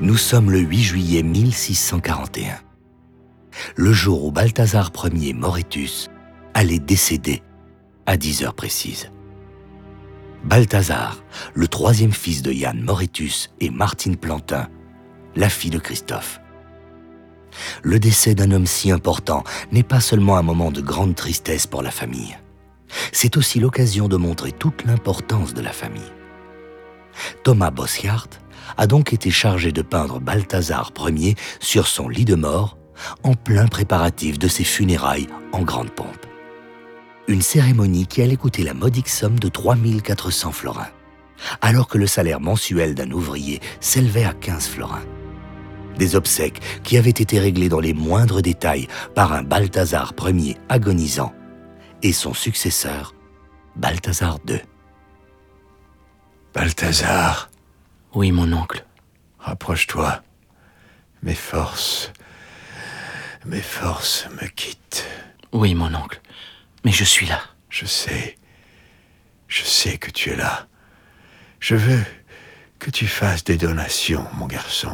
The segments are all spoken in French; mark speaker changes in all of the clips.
Speaker 1: Nous sommes le 8 juillet 1641. Le jour où Balthazar Ier Moretus allait décéder à 10 heures précises. Balthazar, le troisième fils de Yann Moretus et Martine Plantin, la fille de Christophe. Le décès d'un homme si important n'est pas seulement un moment de grande tristesse pour la famille. C'est aussi l'occasion de montrer toute l'importance de la famille. Thomas Bossiart a donc été chargé de peindre Balthazar Ier sur son lit de mort, en plein préparatif de ses funérailles en grande pompe. Une cérémonie qui allait coûter la modique somme de 3400 florins, alors que le salaire mensuel d'un ouvrier s'élevait à 15 florins. Des obsèques qui avaient été réglées dans les moindres détails par un Balthazar Ier agonisant et son successeur, Balthazar II.
Speaker 2: Balthazar,
Speaker 3: Oui, mon oncle.
Speaker 2: rapproche-toi. Mes forces. Mes forces me quittent.
Speaker 3: Oui, mon oncle. Mais je suis là.
Speaker 2: Je sais. Je sais que tu es là. Je veux que tu fasses des donations, mon garçon.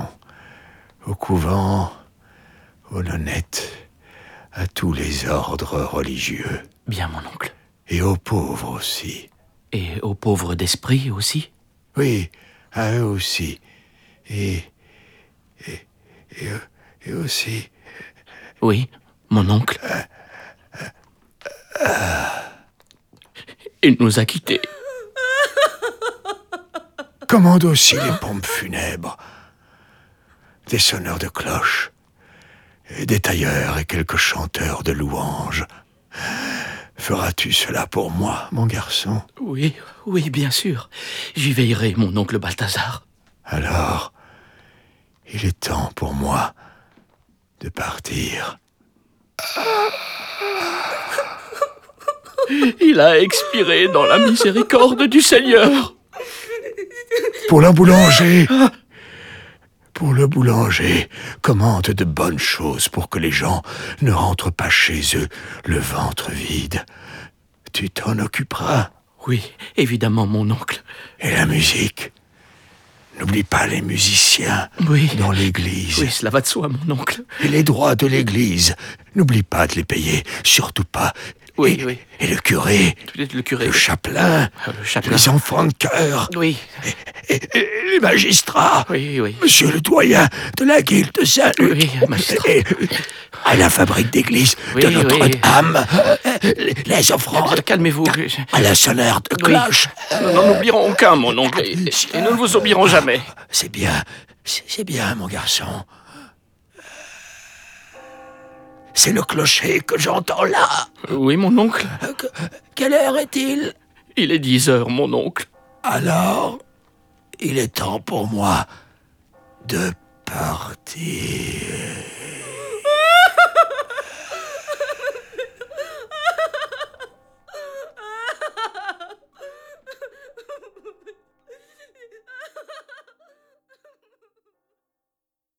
Speaker 2: Au couvent, aux nonnettes, à tous les ordres religieux.
Speaker 3: Bien, mon oncle.
Speaker 2: Et aux pauvres aussi.
Speaker 3: Et aux pauvres d'esprit aussi
Speaker 2: Oui, à eux aussi. Et. et. et, eux- et aussi.
Speaker 3: Oui, mon oncle. Il nous a quittés.
Speaker 2: Commande aussi les pompes funèbres, des sonneurs de cloches, et des tailleurs et quelques chanteurs de louanges. Feras-tu cela pour moi, mon garçon
Speaker 3: Oui, oui, bien sûr. J'y veillerai, mon oncle Balthazar.
Speaker 2: Alors, il est temps pour moi de partir.
Speaker 3: Il a expiré dans la miséricorde du Seigneur.
Speaker 2: Pour la boulanger Pour le boulanger, commande de bonnes choses pour que les gens ne rentrent pas chez eux le ventre vide. Tu t'en occuperas.
Speaker 3: Oui, évidemment, mon oncle.
Speaker 2: Et la musique N'oublie pas les musiciens
Speaker 3: Oui.
Speaker 2: dans l'église
Speaker 3: Oui, cela va de soi, mon oncle.
Speaker 2: et les droits de l'église. N'oublie pas de les payer, surtout pas.
Speaker 3: Oui,
Speaker 2: et,
Speaker 3: oui.
Speaker 2: et le curé,
Speaker 3: Peut-être le curé.
Speaker 2: le chapelain,
Speaker 3: Ah, le chapelain.
Speaker 2: les enfants de chœur
Speaker 3: Oui,
Speaker 2: et, et les magistrats.
Speaker 3: oui, oui.
Speaker 2: Monsieur le doyen de la guilde de Saint-Luc.
Speaker 3: Oui, magistrat.
Speaker 2: Et- à la fabrique d'église de
Speaker 3: Oui,
Speaker 2: Notre-Dame. euh, Les- Les offrandes
Speaker 3: Calmez-vous. je-
Speaker 2: à la sonneur de
Speaker 3: Oui.
Speaker 2: cloche.
Speaker 3: Nous n'en oublierons aucun, mon oncle. Et, et nous ne vous oublierons jamais.
Speaker 2: C'est bien, c'est c'est bien, mon garçon. C'est le clocher que j'entends là.
Speaker 3: Oui, mon oncle.
Speaker 2: Que- quelle heure est-il
Speaker 3: Il est 10 heures, mon oncle.
Speaker 2: Alors, il est temps pour moi de partir.